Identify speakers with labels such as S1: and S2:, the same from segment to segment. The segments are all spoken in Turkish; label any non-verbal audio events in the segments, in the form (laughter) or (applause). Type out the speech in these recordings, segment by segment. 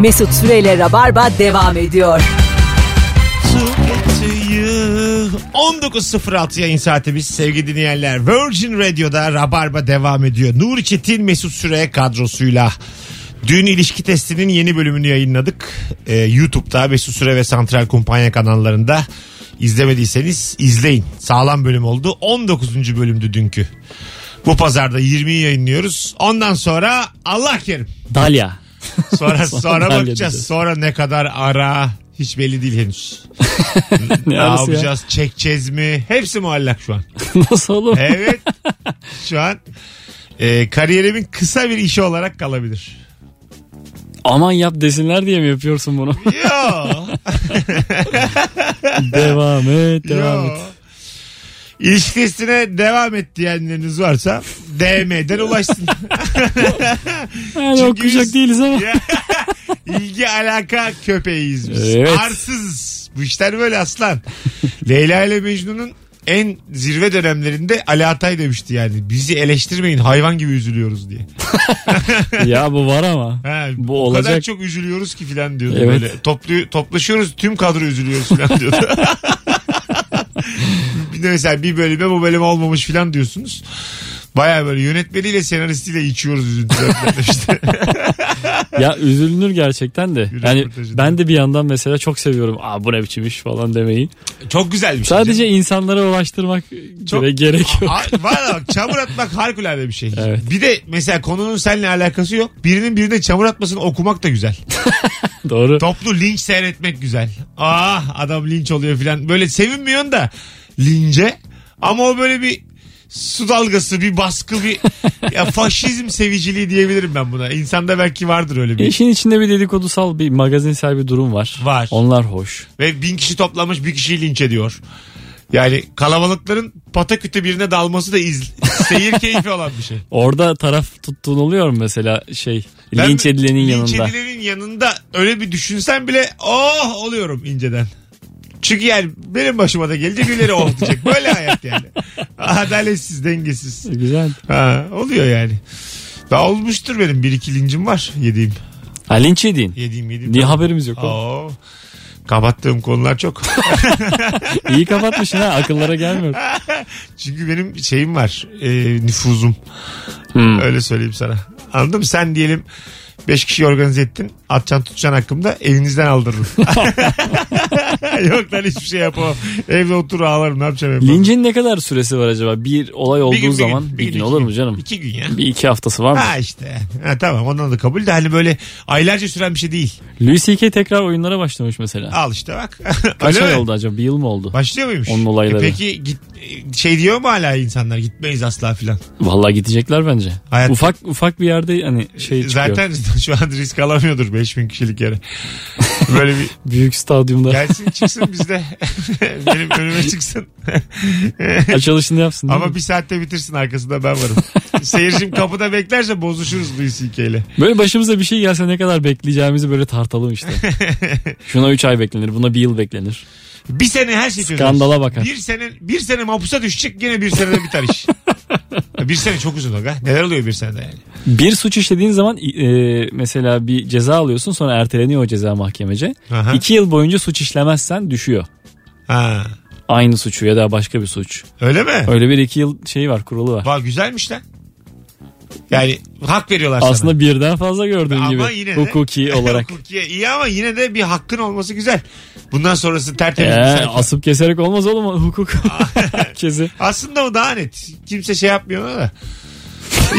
S1: Mesut Süreyle Rabarba devam ediyor.
S2: Tuğbatıyı. 19.06 yayın saatimiz sevgili dinleyenler. Virgin Radio'da Rabarba devam ediyor. Nuri Çetin Mesut Süre kadrosuyla. Dün ilişki testinin yeni bölümünü yayınladık. Ee, YouTube'da Mesut Süre ve Santral Kumpanya kanallarında izlemediyseniz izleyin. Sağlam bölüm oldu. 19. bölümdü dünkü. Bu pazarda 20'yi yayınlıyoruz. Ondan sonra Allah kerim.
S3: Dalya.
S2: Sonra sonra
S3: halledeceğiz.
S2: bakacağız. Sonra ne kadar ara hiç belli değil henüz. ne
S3: Ne arası ya?
S2: yapacağız? Çekeceğiz mi? Hepsi muallak şu an.
S3: (laughs) Nasıl oğlum?
S2: Evet. şu an e, kariyerimin kısa bir işi olarak kalabilir.
S3: Aman yap desinler diye mi yapıyorsun
S2: (laughs)
S3: bunu?
S2: Yo.
S3: devam et, (laughs) devam
S2: yo.
S3: et.
S2: İlişki testine devam et diyenleriniz varsa
S3: (laughs)
S2: DM'den ulaşsın.
S3: Yani
S2: Çünkü
S3: okuyacak
S2: biz-
S3: değiliz ama.
S2: Ya, İlgi alaka köpeğiyiz biz.
S3: Evet.
S2: Arsız. Bu işler böyle aslan. Leyla ile Mecnun'un en zirve dönemlerinde Ali Atay demişti yani. Bizi eleştirmeyin hayvan gibi üzülüyoruz diye.
S3: ya bu var ama.
S2: Ha,
S3: Bu
S2: o kadar
S3: olacak.
S2: çok üzülüyoruz ki filan diyordu
S3: Evet.
S2: böyle. Toplu, toplaşıyoruz tüm kadro üzülüyoruz filan diyordu. bir de mesela bir bölüme bu bölüme olmamış filan diyorsunuz. Baya böyle yönetmeniyle senaristiyle içiyoruz üzüntüden filan demişti.
S3: Ya üzülünür gerçekten de.
S2: Bir
S3: Yani
S2: röportajı
S3: ben de bir yandan mesela çok seviyorum. Aa bu ne biçim iş falan demeyi.
S2: Çok güzel bir şey. canım.
S3: Sadece insanlara ulaştırmak
S2: Çok-
S3: bile gerek
S2: (laughs)
S3: yok.
S2: A- Valla bak çamur atmak harikulade bir şey.
S3: Evet.
S2: Bir de mesela konunun seninle alakası yok. Birinin birine çamur atmasını okumak da güzel.
S3: Doğru.
S2: Toplu linç seyretmek güzel. Ah adam linç oluyor filan. Böyle sevinmiyorsun da lince. Ama o böyle bir su dalgası, bir baskı, bir ya faşizm seviciliği diyebilirim ben buna. İnsanda belki vardır öyle bir.
S3: İşin içinde bir dedikodusal bir magazinsel bir durum var.
S2: Var.
S3: Onlar hoş.
S2: Ve bin kişi toplanmış bir kişiyi linç ediyor. Yani kalabalıkların pataküte birine dalması da iz, seyir keyfi olan bir şey.
S3: Orada taraf tuttuğun oluyor mu mesela şey
S2: Ben
S3: linç edilenin
S2: linç
S3: yanında?
S2: edilenin yanında öyle bir düşünsen bile oh oluyorum inceden. Çünkü yani benim başıma da gelecek birileri oh diyecek. Böyle hayat yani.
S3: (laughs)
S2: Adaletsiz, dengesiz.
S3: Güzel.
S2: Ha, oluyor yani. Daha olmuştur benim. Bir iki lincim var. Yediğim.
S3: Ha linç edin.
S2: Yediğim yediğim.
S3: Niye haberimiz yok? oğlum?
S2: Oo. Kapattığım
S3: (laughs)
S2: konular çok.
S3: İyi kapatmışsın ha akıllara gelmiyor.
S2: Çünkü benim şeyim var. e, nüfuzum.
S3: Hmm.
S2: Öyle söyleyeyim sana. Anladın mı? Sen diyelim 5 kişi organize ettin. Atacaksın tutacaksın hakkımda evinizden aldırırım. (laughs) Yok lan hiçbir şey yapamam. Evde otur ağlarım ne yapacağım yapamam.
S3: Lincin ne kadar süresi var acaba? Bir olay olduğu zaman bir, gün,
S2: iki
S3: olur mu canım?
S2: İki gün ya.
S3: Bir iki haftası var mı?
S2: Ha işte. Ha, tamam ondan da kabul de hani böyle aylarca süren bir şey değil.
S3: Louis C.K. tekrar oyunlara başlamış mesela.
S2: Al işte bak. (laughs)
S3: Kaç
S2: Öyle
S3: ay
S2: mi?
S3: oldu acaba? Bir yıl mı oldu?
S2: Başlıyor muymuş? E
S3: Onun olayları.
S2: peki git, şey diyor mu hala insanlar gitmeyiz asla filan.
S3: Vallahi gidecekler bence.
S2: Hayat-
S3: Ufak ufak bir yerde hani şey çıkıyor.
S2: Zaten (laughs) şu an risk alamıyordur 5000 kişilik yere. Böyle
S3: (laughs)
S2: bir
S3: Büyük stadyumda
S2: Gelsin çıksın bizde. (laughs) Benim önüme çıksın.
S3: (laughs) açılışını yapsın. değil mi?
S2: Ama bir saatte bitirsin arkasında
S3: (laughs)
S2: ben varım. Seyircim kapıda beklerse bozuşuruz Louis C.K. ile.
S3: Böyle başımıza bir şey gelse ne kadar bekleyeceğimizi böyle tartalım
S2: (laughs)
S3: işte. Şuna 3 ay beklenir, buna bir yıl beklenir.
S2: Bir sene her şey çözülür.
S3: Skandala bakar.
S2: Bir sene, bir sene mapusa düşecek gene bir senede biter
S3: (laughs)
S2: iş. bir sene çok uzun aga. Neler oluyor bir senede yani.
S3: Bir suç işlediğin zaman e, mesela bir ceza alıyorsun sonra erteleniyor o ceza mahkemece.
S2: Aha.
S3: 2 yıl boyunca suç işlemezsen düşüyor.
S2: Ha.
S3: Aynı suçu ya da başka bir suç.
S2: Öyle mi?
S3: Öyle bir 2 yıl şeyi var, kurulu var.
S2: Vay güzelmiş lan. Yani hak veriyorlar sana.
S3: Aslında birden fazla gördüğün
S2: Ama
S3: gibi
S2: yine de- (laughs)
S3: hukuki olarak.
S2: Hukukiye iyi ama yine de bir hakkın olması güzel. Bundan sonrası
S3: Ee,
S2: tertemiz. bir sayfa.
S3: asıp keserek olmaz oğlum
S2: (laughs)
S3: hukuk.
S2: Ah,
S3: Herkesi.
S2: Aslında o daha net. Kimse şey yapmıyor ona da. (laughs)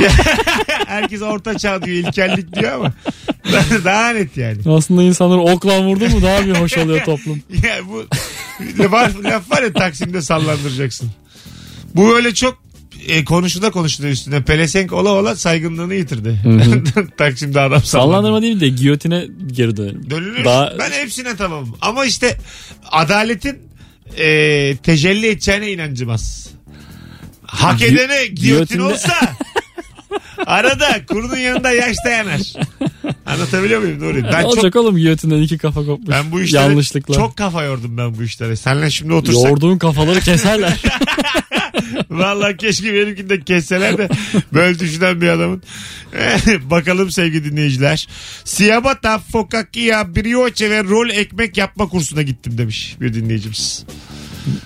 S2: Herkes orta çağ diyor, ilkellik diyor ama (laughs) daha net yani.
S3: Aslında insanlar okla vurdu mu daha bir hoş oluyor toplum.
S2: Ya bu laf, laf var ya Taksim'de sallandıracaksın. Bu öyle çok e, konuşuda konuşuda üstüne pelesenk ola ola saygınlığını yitirdi. (laughs) Taksim'de adam sallandırma.
S3: Sallandırma değil de giyotine geri dönelim.
S2: Dönülür.
S3: Daha-
S2: Ben hepsine tamam. Ama işte adaletin e, tecelli edeceğine inancım az. Hak
S3: Gi-
S2: edene giyotin
S3: giyotinde- (laughs)
S2: olsa arada kurunun yanında yaş dayanar. Anlatabiliyor muyum Nuri? Ben çok
S3: Olacak oğlum giyotinden iki kafa kopmuş.
S2: ben bu işlere
S3: Yanlışlıkla.
S2: çok kafa yordum ben bu işlere. Senle şimdi otursak (laughs)
S3: Yoğurduğun kafaları keserler.
S2: Vallahi keşke benimkini de kesseler de böyle düşünen bir adamın. (laughs) Bakalım sevgili dinleyiciler. Siyabata, fokakia, brioche ve rol ekmek yapma kursuna gittim demiş bir dinleyicimiz.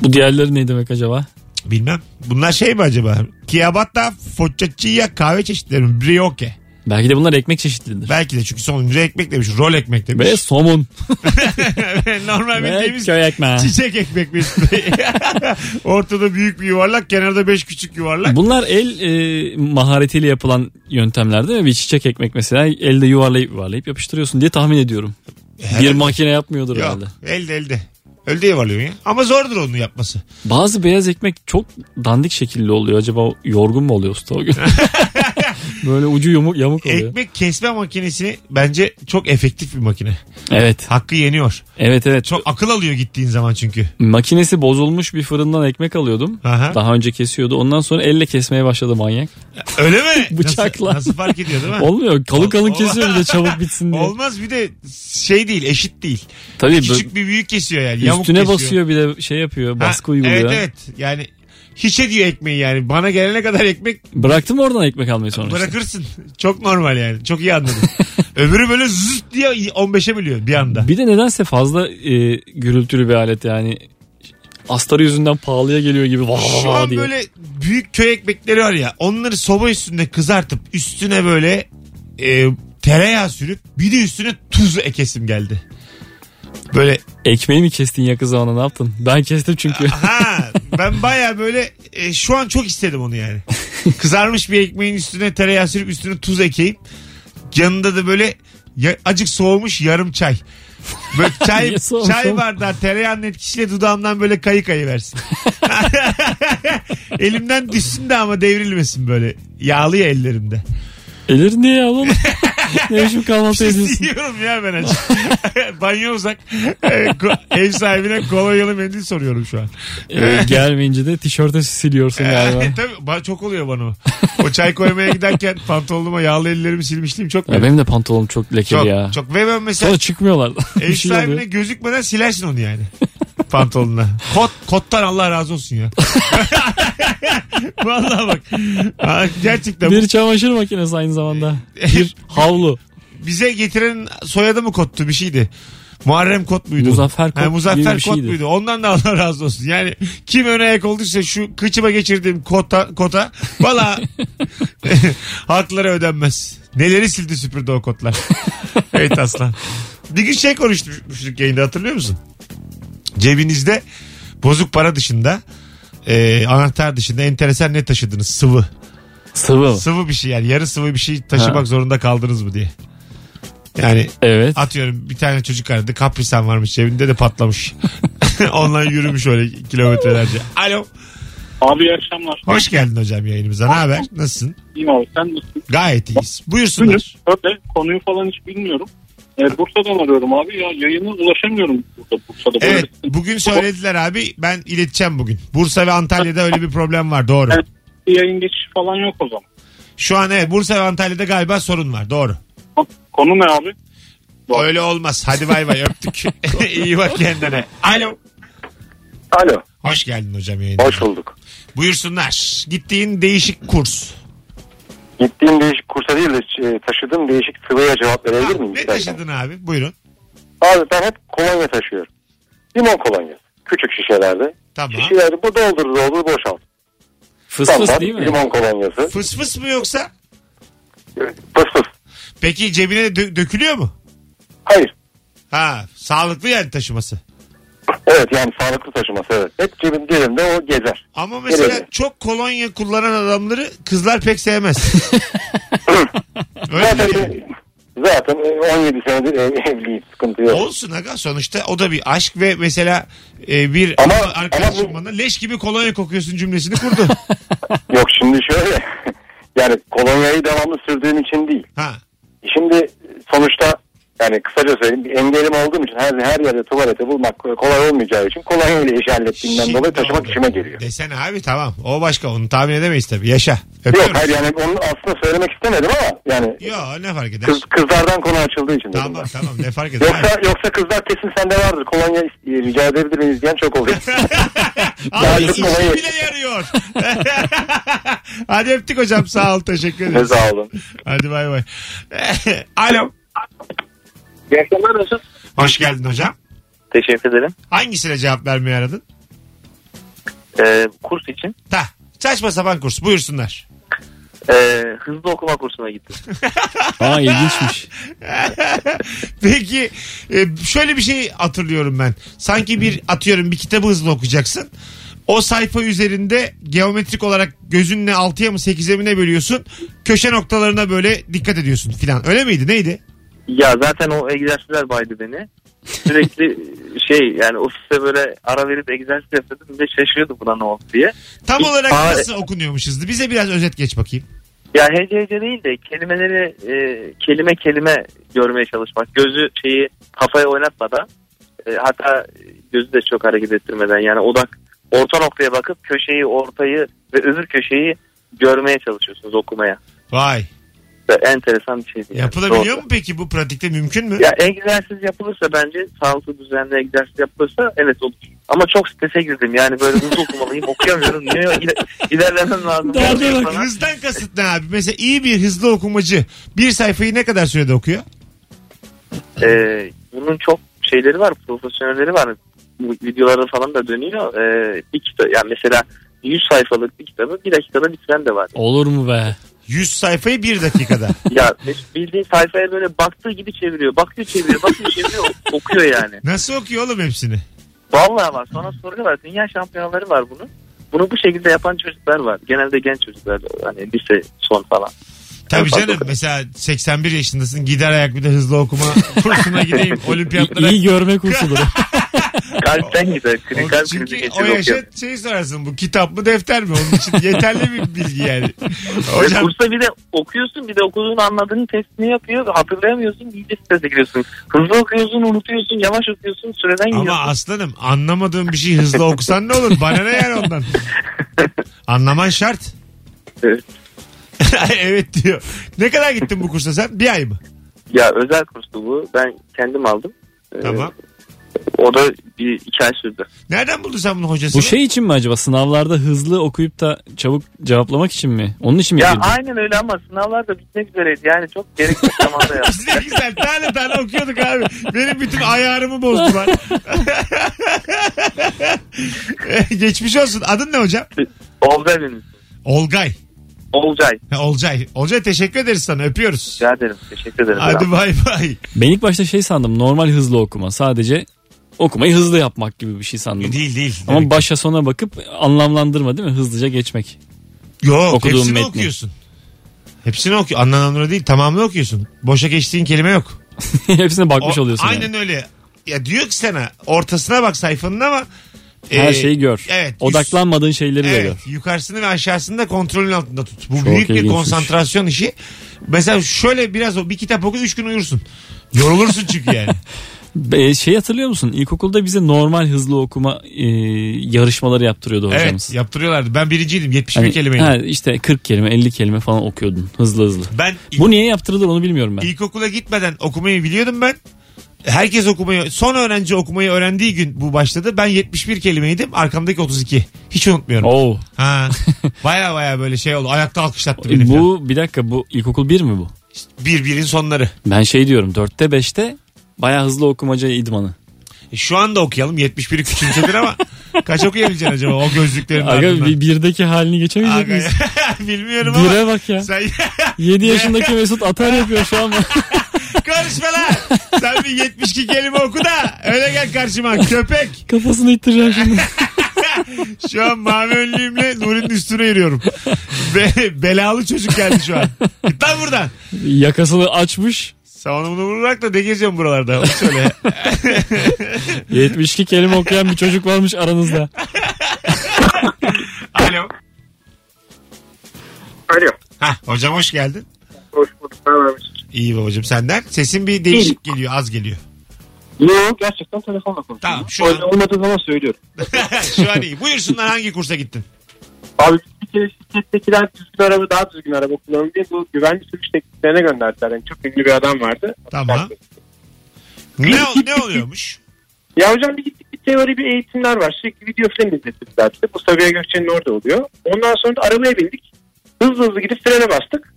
S3: Bu diğerleri ne demek acaba?
S2: Bilmem. Bunlar şey mi acaba? Kiyabata, focaccia kahve çeşitleri mi? Brioche.
S3: Belki de bunlar ekmek çeşitleridir.
S2: Belki de çünkü sonuncu ekmek demiş. Rol ekmek demiş.
S3: Ve somun.
S2: (laughs) Normal
S3: Ve
S2: bildiğimiz
S3: köy ekmeği.
S2: çiçek ekmek mesut. Bey. (laughs) Ortada büyük bir yuvarlak. Kenarda beş küçük yuvarlak.
S3: Bunlar el e, maharetiyle yapılan yöntemler değil mi? Bir çiçek ekmek mesela elde yuvarlayıp yuvarlayıp yapıştırıyorsun diye tahmin ediyorum. Bir makine yapmıyordur
S2: Yok.
S3: herhalde.
S2: Elde elde. Elde yuvarlıyorsun ya. Ama zordur onu yapması.
S3: Bazı beyaz ekmek çok dandik şekilli oluyor. Acaba yorgun mu oluyor usta o
S2: (laughs)
S3: gün? Böyle ucu yumuk, yamuk oluyor.
S2: Ekmek kesme makinesi bence çok efektif bir makine.
S3: Evet.
S2: Hakkı yeniyor.
S3: Evet evet.
S2: Çok akıl alıyor gittiğin zaman çünkü.
S3: Makinesi bozulmuş bir fırından ekmek alıyordum.
S2: Aha.
S3: Daha önce kesiyordu. Ondan sonra elle kesmeye başladı manyak. (laughs)
S2: Öyle mi?
S3: Bıçakla.
S2: Nasıl, nasıl fark ediyor değil mi?
S3: Olmuyor. Kalın kalın
S2: Ol-
S3: kesiyor bir de çabuk bitsin diye.
S2: Olmaz bir de şey değil eşit değil.
S3: Tabii
S2: Küçük bir büyük kesiyor yani.
S3: bö-
S2: Yamuk
S3: üstüne
S2: kesiyor.
S3: basıyor bir de şey yapıyor.
S2: Ha,
S3: Baskı uyguluyor.
S2: Evet evet yani hiç ediyor ekmeği yani. Bana gelene kadar ekmek
S3: Bıraktım oradan ekmek almayı sonra. işte.
S2: bırakırsın. Çok normal yani. Çok iyi anladım.
S3: (laughs)
S2: Öbürü böyle zıt diye 15'e biliyor bir anda.
S3: Bir de nedense fazla e, gürültülü bir alet yani. Astarı yüzünden pahalıya geliyor gibi vah vah
S2: Şu
S3: vah
S2: an
S3: diye.
S2: böyle büyük köy ekmekleri var ya. Onları soba üstünde kızartıp üstüne böyle e, tereyağı sürüp bir de üstüne tuz ekesim geldi. Böyle
S3: Ekmeği mi kestin yakın zamanda ne yaptın? Ben kestim çünkü. (laughs)
S2: Ha ben baya böyle e, şu an çok istedim onu yani. Kızarmış bir ekmeğin üstüne tereyağı sürüp üstüne tuz ekeyim. Yanında da böyle ya- acık soğumuş yarım çay.
S3: (laughs)
S2: Böyle çay,
S3: Niye soğumuş
S2: çay
S3: oğlum?
S2: bardağı tereyağının etkisiyle dudağımdan böyle kayı kayı versin. (laughs) Elimden düşsün de ama devrilmesin böyle. Yağlı ya ellerimde.
S3: Elleri niye
S2: (laughs)
S3: yağlı oğlum? ne biçim
S2: şey
S3: kahvaltı ediyorsun?
S2: Yiyorum ya ben acı. (laughs) Banyo uzak. E, ko- Ev sahibine kolonyalı mendil soruyorum şu an.
S3: Ee, gelmeyince de tişörte siliyorsun
S2: (laughs)
S3: galiba.
S2: E, tabii ba- çok oluyor bana o. O çay koymaya giderken pantolonuma yağlı ellerimi silmişliğim çok.
S3: Ya benim de pantolonum çok lekeli
S2: çok,
S3: ya.
S2: çok ve ben mesela
S3: Sonra çıkmıyorlar.
S2: ev
S3: (laughs) Bir şey oluyor.
S2: sahibine gözükmeden silersin onu yani. (laughs) Pantolonuna. Kot, kottan Allah razı olsun ya. (laughs) Vallahi bak. Ha, gerçekten
S3: Bir çamaşır makinesi aynı
S2: (laughs)
S3: zamanda. Bir havlu.
S2: bize getirenin soyadı mı kottu bir şeydi. Muharrem Kot muydu?
S3: Muzaffer Kot
S2: Ha, Muzaffer
S3: gibi bir
S2: Kot
S3: şeydi.
S2: muydu? Ondan da Allah razı olsun. Yani kim öne ayak olduysa şu kıçıma geçirdiğim kota, kota
S3: (laughs)
S2: valla hakları ödenmez. Neleri sildi süpürdü
S3: (laughs)
S2: o kotlar. evet aslan. Bir gün şey konuşmuştuk yayında hatırlıyor musun? Cebinizde bozuk para dışında e, anahtar dışında enteresan ne taşıdınız? Sıvı.
S3: Sıvı.
S2: Sıvı bir şey yani yarı sıvı bir şey taşımak
S3: Ha.
S2: zorunda kaldınız mı diye. Yani
S3: Evet.
S2: Atıyorum bir tane çocuk aradı. Kaprisan varmış cebinde de patlamış. (laughs) Onunla yürümüş öyle kilometrelerce. Alo.
S4: Abi iyi akşamlar.
S2: Hoş geldin hocam yayınımıza. Ne haber? Nasılsın?
S4: İyiyim abi sen nasılsın?
S2: Gayet iyiyiz. Buyursunlar.
S4: Buyur. Öyle konuyu falan hiç bilmiyorum. Ee, Bursa'dan arıyorum abi. Ya yayına ulaşamıyorum Bursa, Bursa'da. Böyle
S2: Evet
S4: bir-
S2: bugün söylediler abi ben ileteceğim bugün. Bursa ve Antalya'da öyle bir problem var doğru.
S4: Evet. Bir yayın geçişi falan yok o zaman.
S2: Şu an evet Bursa ve Antalya'da galiba sorun var doğru.
S4: Ha, Konu ne abi? Doğru.
S2: Öyle olmaz hadi bay bay öptük. (laughs) İyi bak kendine. Alo.
S5: Alo.
S2: Hoş geldin hocam yayınımıza.
S5: Hoş bulduk.
S2: Buyursunlar. Gittiğin değişik kurs.
S5: Gittiğim değişik kursa değil de e, taşıdığım değişik sıvıya cevap verebilir miyim?
S2: Ne
S5: istersen?
S2: taşıdın abi? Buyurun.
S5: Abi ben hep kolonya taşıyorum. Limon kolonyası. Küçük şişelerde.
S2: Tamam.
S5: Şişeleri bu doldurur doldur boşalt.
S3: Fıs
S5: Standart
S3: fıs değil mi?
S5: Limon kolonyası.
S2: Fıs fıs mı yoksa?
S5: Fıs fıs.
S2: Peki cebine dö- dökülüyor mu?
S5: Hayır.
S2: Ha sağlıklı yani taşıması.
S5: Evet yani sağlıklı taşıması evet. Hep cebim cebimde o gezer.
S2: Ama mesela
S5: Evet.
S2: çok kolonya kullanan adamları kızlar pek
S5: (laughs)
S2: sevmez. Öyle
S5: Zaten,
S2: değil mi?
S5: zaten e, 17 senedir ev, evliyim. Sıkıntı yok.
S2: Olsun aga sonuçta o da bir aşk ve mesela e, bir
S5: Ama-
S2: arkadaşım
S5: ama bu-
S2: bana leş gibi kolonya kokuyorsun cümlesini
S5: (laughs)
S2: kurdu.
S5: Yok şimdi şöyle. (laughs) yani kolonyayı devamlı sürdüğüm için değil.
S2: ha
S5: Şimdi sonuçta yani Yani kısaca söyleyeyim bir engelim olduğum için her, her yerde tuvalete bulmak kolay olmayacağı için kolonya ile iş hallettiğimden
S2: Şimdi
S5: dolayı taşımak
S2: oldu.
S5: işime geliyor.
S2: Desene abi tamam. O başka onu tahmin edemeyiz tabii. Yaşa.
S5: Yok
S2: Öpüyorum.
S5: hayır yani onu aslında söylemek istemedim ama yani
S2: Yo ne fark eder?
S5: kız, kızlardan konu açıldığı için dedim
S2: Tamam
S5: ben.
S2: tamam ne
S5: (laughs)
S2: fark eder?
S5: Yoksa, yoksa kızlar kesin sende vardır. Kolonya is- rica edebilir miyiz diyen çok
S2: (laughs)
S5: oluyor.
S2: Abi
S5: Daha çok
S2: işi
S5: kolay.
S2: bile yarıyor. (laughs) Hadi öptük hocam sağ ol teşekkür
S5: Ne
S2: ederiz.
S5: sağ olun.
S2: Hadi bay bay. (laughs) Alo.
S4: İyi akşamlar Mesut.
S2: Hoş geldin hocam.
S6: Teşekkür ederim.
S2: Hangisine cevap vermeyi aradın?
S6: Ee, kurs için
S2: Ta. Saçma sapan kurs buyursunlar. (laughs)
S6: ee, hızlı okuma kursuna gittim.
S3: Aa ilginçmiş.
S2: Peki e, şöyle bir şey hatırlıyorum ben. Sanki bir atıyorum bir kitabı hızlı okuyacaksın. O sayfa üzerinde geometrik olarak gözünle 6'ya mı 8'e mi ne bölüyorsun? Köşe noktalarına böyle dikkat ediyorsun filan. Öyle miydi? Neydi?
S6: Ya zaten o egzersizler baydı beni.
S2: (laughs)
S6: Sürekli şey yani ofiste böyle ara verip egzersiz yapıyordum ve şaşırıyordum buna ne oldu diye.
S2: Tam olarak
S6: Aa,
S2: nasıl okunuyormuş hızlı? Bize biraz özet geç bakayım.
S6: Ya hece hece değil de kelimeleri e, kelime kelime görmeye çalışmak. Gözü şeyi kafaya oynatmadan e, hatta gözü de çok hareket ettirmeden yani odak orta noktaya bakıp köşeyi ortayı ve öbür köşeyi görmeye çalışıyorsunuz okumaya.
S2: Vay.
S6: Ve enteresan bir şey. değil.
S2: Yapılabiliyor
S6: Doğru.
S2: mu peki bu pratikte mümkün mü?
S6: Ya egzersiz yapılırsa bence sağlıklı düzenli egzersiz yapılırsa evet olur. Ama çok strese girdim yani böyle hızlı okumalıyım okuyamıyorum. Niye İle- ilerlemem lazım.
S3: Derde bak,
S6: Bana-
S2: Hızdan kasıt ne abi? Mesela iyi bir hızlı okumacı bir sayfayı ne kadar sürede okuyor?
S6: Ee, bunun çok şeyleri var, profesyonelleri var. Bu videolarda falan da dönüyor. Ee, bir kita- yani mesela 100 sayfalık bir kitabı bir dakikada bitiren de var.
S3: Olur mu be?
S2: 100 sayfayı bir
S6: (laughs)
S2: dakikada.
S6: Ya bildiğin sayfaya böyle baktığı gibi çeviriyor. Bakıyor çeviriyor, bakıyor çeviriyor, okuyor yani.
S2: Nasıl okuyor oğlum hepsini?
S6: Vallahi var. Sonra soruyorlar. Dünya şampiyonaları var bunun. Bunu bu şekilde yapan çocuklar var. Genelde genç çocuklar. Hani lise son falan.
S2: Tabii
S6: Fazla
S2: canım
S6: okudum.
S2: mesela 81 yaşındasın gider ayak bir de hızlı okuma kursuna
S6: (laughs)
S2: gideyim olimpiyatlara.
S3: İyi görme kursudur.
S2: (laughs)
S6: Kalpten gider.
S2: O-
S6: Kri- Kalp krizi
S2: Çünkü o
S6: geçiyor.
S2: yaşa
S6: okuyor.
S2: şey sorarsın bu kitap mı defter mi onun için yeterli bir bilgi yani.
S6: Ve
S2: Hocam
S6: kursa bir de okuyorsun bir de okuduğunu anladığını testini yapıyor. Hatırlayamıyorsun iyice strese giriyorsun. Hızlı okuyorsun unutuyorsun yavaş okuyorsun süreden
S2: ama
S6: gidiyorsun.
S2: aslanım anlamadığın bir şey hızlı okusan ne olur bana ne yani
S6: (laughs)
S2: ondan. Anlaman şart.
S6: Evet.
S2: (laughs) evet diyor. Ne kadar gittin bu kursa sen? Bir ay mı?
S6: Ya özel kurstu bu. Ben kendim aldım. Ee,
S2: Tamam.
S6: O da bir iki ay sürdü.
S2: Nereden buldun sen bunu hocasını?
S3: Bu şey için mi acaba? Sınavlarda hızlı okuyup da çabuk cevaplamak için mi? Onun için mi
S6: Ya
S3: yapıldı?
S6: aynen öyle ama sınavlar da bitmek üzereydi. Yani çok gereksiz zamanda
S2: (laughs)
S6: yaptım.
S2: Biz (laughs) ne güzel tane tane okuyorduk abi. Benim bütün ayarımı bozdular. (laughs) Geçmiş olsun. Adın ne hocam?
S6: Olcay benim.
S2: Olgay.
S6: Olcay.
S2: Ha, Olcay. Olcay teşekkür ederiz sana. Öpüyoruz.
S6: Rica ederim. Teşekkür ederim.
S2: Hadi bay bay.
S3: Ben ilk başta şey sandım. Normal hızlı okuma. Sadece okumayı hızlı yapmak gibi bir şey sandım.
S2: Değil değil.
S3: Ama başa sona bakıp anlamlandırma değil mi? Hızlıca geçmek. (laughs)
S2: Yok
S3: okuduğum
S2: hepsini
S3: metni.
S2: okuyorsun. Hepsini oku. Anlananları değil tamamını okuyorsun. Boşa geçtiğin kelime yok.
S3: Hepsine bakmış
S2: O-
S3: oluyorsun.
S2: aynen
S3: yani.
S2: öyle. Ya diyor ki sana ortasına bak sayfanın ama.
S3: Her
S2: e,
S3: şeyi gör.
S2: evet, üst-
S3: Odaklanmadığın şeyleri de
S2: Evet
S3: gör.
S2: yukarısını ve aşağısını da kontrolün altında tut. Bu
S3: Çok
S2: büyük bir
S3: ilginçmiş.
S2: konsantrasyon işi. Mesela şöyle biraz o bir kitap oku 3 gün uyursun. Yorulursun
S3: (laughs)
S2: çünkü yani.
S3: Be- şey hatırlıyor musun? İlkokulda bize normal hızlı okuma e, yarışmaları yaptırıyordu hocamız.
S2: evet yaptırıyorlardı. Ben birinciydim 71
S3: Hani-
S2: kelimeyle.
S3: ha, işte 40 kelime 50 kelime falan okuyordun hızlı hızlı.
S2: Ben
S3: Bu niye yaptırılır onu bilmiyorum ben.
S2: İlkokula gitmeden okumayı biliyordum ben. Herkes okumayı, son öğrenci okumayı öğrendiği gün bu başladı. Ben 71 kelimeydim, arkamdaki 32. Hiç unutmuyorum.
S3: Oo.
S2: (laughs) Ha. Baya baya böyle şey oldu. Ayakta alkışlattı beni. Bu...
S3: Bu bir dakika bu ilkokul 1 mi bu?
S2: Bir birin sonları.
S3: Ben şey diyorum 4'te 5'te bayağı hızlı okumaca idmanı.
S2: E, Şu anda okuyalım. 71'i küçümsedir (laughs) ama kaç okuyabileceksin acaba o gözlüklerin
S3: Aga
S2: ardından?
S3: bir, birdeki halini geçemeyecek
S2: Aga,
S3: miyiz?
S2: (laughs) bilmiyorum ama.
S3: Bire bak ya.
S2: Sen (laughs)
S3: 7 yaşındaki Mesut atar yapıyor şu an.
S2: karışma lan. Sen bir 72 kelime oku da öyle gel karşıma köpek.
S3: Kafasını ittireceğim şimdi.
S2: Şu an mavi önlüğümle Nuri'nin üstüne yürüyorum. Be- belalı çocuk geldi şu an. Git lan buradan.
S3: Yakasını açmış.
S2: Savunumu vurarak da ne geziyorsun buralarda? Onu söyle.
S3: 72 kelime okuyan bir çocuk varmış aranızda.
S2: Alo.
S4: Alo.
S2: Hah, hocam hoş geldin.
S4: Hoş bulduk. Ne haber Mesut?
S2: İyi babacığım senden. Sesin bir değişik geliyor az geliyor. (laughs)
S4: Yok gerçekten telefonla konuşuyorum.
S2: Tamam, şu
S4: Öyle
S2: an-
S4: olmadığı zaman söylüyorum.
S2: Şu an iyi. Buyursunlar hangi kursa gittin?
S4: Abi bir kere şirkettekiler düzgün araba daha düzgün araba kullanın diye bu güvenli sürüş tekniklerine gönderdiler. Yani çok ünlü bir adam vardı.
S2: Tamam. Ne, ne oluyormuş?
S4: Ya hocam bir gittik bir teori bir eğitimler var. Sürekli video falan izlettiler bize. Bu Sabiha Gökçen'in orada oluyor. Ondan sonra da arabaya bindik. Hızlı hızlı gidip frene bastık.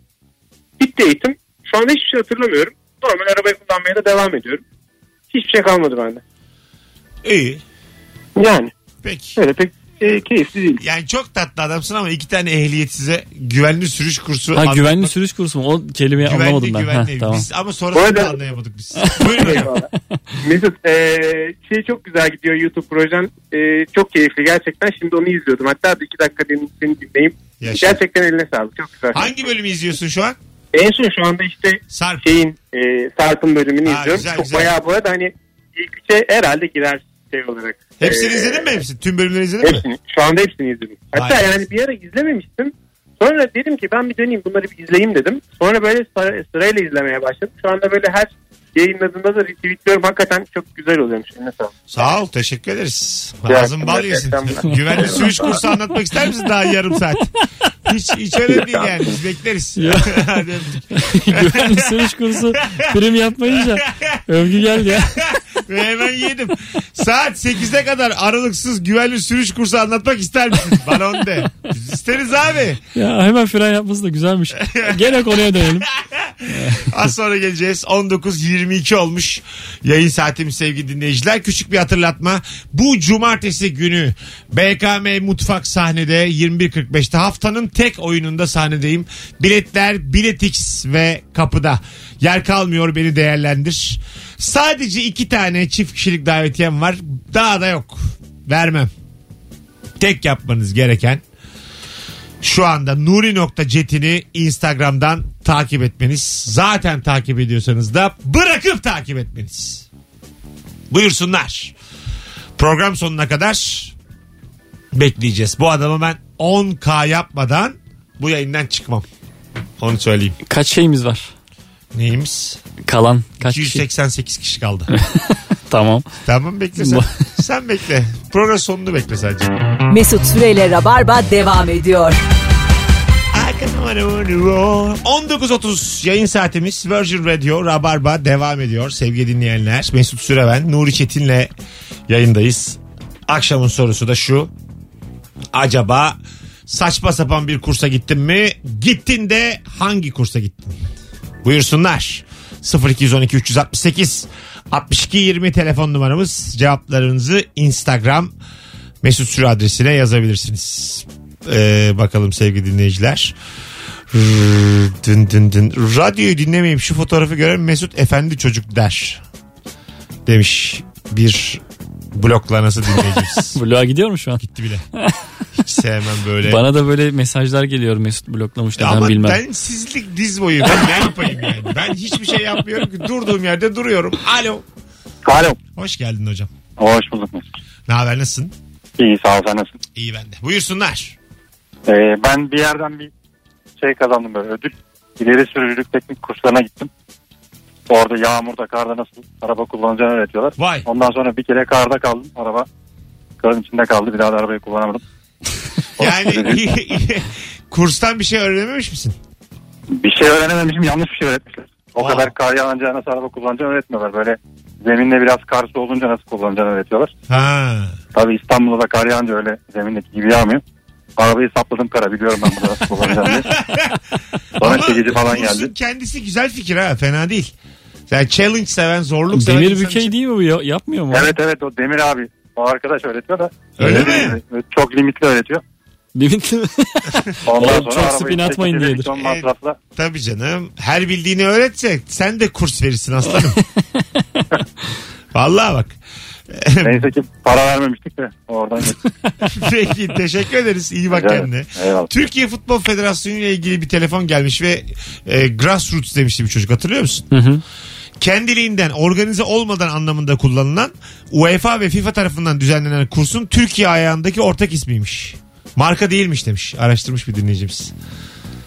S4: Bitti eğitim. Şu anda hiçbir şey hatırlamıyorum. Normal arabayı kullanmaya da devam ediyorum. Hiçbir şey kalmadı bende.
S2: İyi.
S4: Yani
S2: Peki.
S4: öyle pek e, keyifli değil.
S2: Yani çok tatlı adamsın ama iki tane ehliyet size güvenli sürüş kursu.
S3: Ha
S2: anlatmak-
S3: güvenli sürüş kursu mu? O kelimeyi
S2: Güvenli,
S3: anlamadım ben.
S2: güvenli.
S3: Heh, tamam.
S2: Biz ama sonrasını
S4: Bu
S2: da
S4: arada-
S2: anlayamadık biz. Buyurun hocam.
S4: Eyvallah. Mesut e, şey çok güzel gidiyor YouTube projen. E, çok keyifli gerçekten. Şimdi onu izliyordum. Hatta bir iki dakika dinleyip seni dinleyeyim.
S2: Yaşa.
S4: Gerçekten eline sağlık. Çok güzel.
S2: Hangi bölümü izliyorsun şu an?
S4: En son şu anda işte
S2: Sarp.
S4: şeyin e, Sarp'ın bölümünü
S2: Ha,
S4: izliyorum.
S2: güzel,
S4: Çok
S2: güzel.
S4: bayağı bu arada hani ilk üçe herhalde girer şey olarak.
S2: Hepsini
S4: E,
S2: izledin mi hepsini? Tüm bölümleri izledin mi?
S4: Hepsini. Şu anda hepsini izledim. Hatta
S2: Vay.
S4: yani bir ara izlememiştim. Sonra dedim ki ben bir döneyim bunları bir izleyeyim dedim. Sonra böyle sıra- sırayla izlemeye başladım. Şu anda böyle her yayınladığında da retweetliyorum. Hakikaten çok güzel oluyormuş. Eline sağlık.
S2: Sağ ol teşekkür ederiz. Ağzın
S4: İyi akşamlar,
S2: bal
S4: iyi
S2: yesin. (laughs)
S4: akşamlar.
S2: Güvenli sürüş kursu anlatmak ister misin daha yarım saat? Hiç, hiç öyle değil yani biz bekleriz. (laughs) Hadi
S3: (laughs)
S2: öptük.
S3: güvenli sürüş kursu prim yapmayınca övgü geldi ya.
S2: Ve hemen yedim. Saat 8'e kadar aralıksız güvenli sürüş kursu anlatmak ister misin? Bana onu de. Biz isteriz abi.
S3: Ya hemen fren yapması da güzelmiş. Gene konuya dönelim.
S2: (laughs) Az sonra geleceğiz. 19.22 olmuş yayın saatimiz sevgili dinleyiciler. Küçük bir hatırlatma. Bu cumartesi günü BKM Mutfak sahnede 21.45'te haftanın tek oyununda sahnedeyim. Biletler Biletix ve kapıda. Yer kalmıyor beni değerlendir. Sadece iki tane çift kişilik davetiyem var. Daha da yok. Vermem. Tek yapmanız gereken şu anda nuri.cetini Instagram'dan takip etmeniz. Zaten takip ediyorsanız da bırakıp takip etmeniz. Buyursunlar. Program sonuna kadar bekleyeceğiz. Bu adamı ben 10K yapmadan bu yayından çıkmam. Onu söyleyeyim.
S3: Kaç şeyimiz var?
S2: Neyimiz?
S3: Kalan kaç kişi?
S2: 288 kişi kaldı.
S3: Tamam.
S2: tamam
S3: (laughs)
S2: bekle sen. sen bekle. Program sonunu bekle sadece.
S1: Mesut Süreyle Rabarba devam ediyor.
S2: I can wanna wanna roll. 19.30 yayın saatimiz Virgin Radio Rabarba devam ediyor sevgili dinleyenler. Mesut Süreven, Nuri Çetin'le yayındayız. Akşamın sorusu da şu. Acaba saçma sapan bir kursa gittin mi? Gittin de hangi kursa gittin? Buyursunlar. 0212 368 62 20 telefon numaramız. Cevaplarınızı Instagram Mesut Süre adresine yazabilirsiniz. Ee, bakalım sevgili dinleyiciler. Rrr, Dün dün dün. Radyoyu dinlemeyip şu fotoğrafı gören Mesut Efendi çocuk der. Demiş bir
S3: (laughs)
S2: bloklanası dinleyicimiz.
S3: Bloğa gidiyor mu şu an?
S2: Gitti bile. Hiç sevmem böyle.
S3: Bana da böyle mesajlar geliyor Mesut bloklamıştı ben
S2: Ama
S3: bilmem.
S2: ben sizlik diz boyu. Ben ne yapayım yani? Ben hiçbir şey yapmıyorum ki. Durduğum yerde duruyorum. Alo.
S5: Alo.
S2: Hoş geldin hocam.
S5: Hoş bulduk Mesut.
S2: Ne haber nasılsın?
S5: İyi sağ ol sen nasılsın?
S2: İyi ben de. Buyursunlar.
S5: Ee, ben bir yerden bir şey kazandım böyle ödül. İleri sürücülük teknik kurslarına gittim. Orada yağmurda karda nasıl araba kullanacağını öğretiyorlar.
S2: Vay.
S5: Ondan sonra bir kere karda kaldım. Araba karın içinde kaldı. Bir daha da arabayı kullanamadım.
S2: Yani (laughs) kurstan bir şey öğrenememiş misin?
S5: Bir şey öğrenememişim yanlış bir şey öğretmişler. O
S2: Aa.
S5: kadar kar yağınca nasıl araba kullanacağını öğretmiyorlar. Böyle zeminde biraz karsı olunca nasıl kullanacağını öğretiyorlar.
S2: Ha.
S5: Tabii İstanbul'da da kar yağınca öyle zemindeki gibi yağmıyor. Arabayı sapladım kara biliyorum ben burada nasıl kullanacağım diye.
S2: (laughs)
S5: Sonra çekici falan
S2: kursun
S5: geldi.
S2: kendisi güzel fikir ha. Fena değil. Yani challenge seven, zorluk seven.
S3: Demir
S2: insan
S3: bükey
S2: için-
S3: değil mi bu? Ya- Yapmıyor mu? (laughs)
S5: Evet evet o Demir abi. O arkadaş öğretiyor da.
S2: Öyle
S5: Demir
S2: mi?
S5: abi, Çok limitli öğretiyor.
S3: Limitli mi?
S5: Ondan
S3: Oğlum,
S5: sonra
S3: çok
S5: arabayı
S3: spin atmayın
S5: çekici
S3: diyedir.
S5: direksiyon masrafla.
S2: Tabii canım. Her bildiğini öğretse sen de kurs verirsin aslanım.
S5: (laughs)
S2: Vallahi bak.
S5: Neyse ki para vermemiştik de oradan geçtik.
S2: Peki teşekkür ederiz. İyi bak
S5: Rica ederim.
S2: kendine.
S5: Eyvallah.
S2: Türkiye Futbol Federasyonu ile ilgili bir telefon gelmiş ve e, grassroots demişti bir çocuk hatırlıyor musun?
S3: Hı hı.
S2: Kendiliğinden organize olmadan anlamında kullanılan UEFA ve FIFA tarafından düzenlenen kursun Türkiye ayağındaki ortak ismiymiş. Marka değilmiş demiş. Araştırmış bir dinleyicimiz.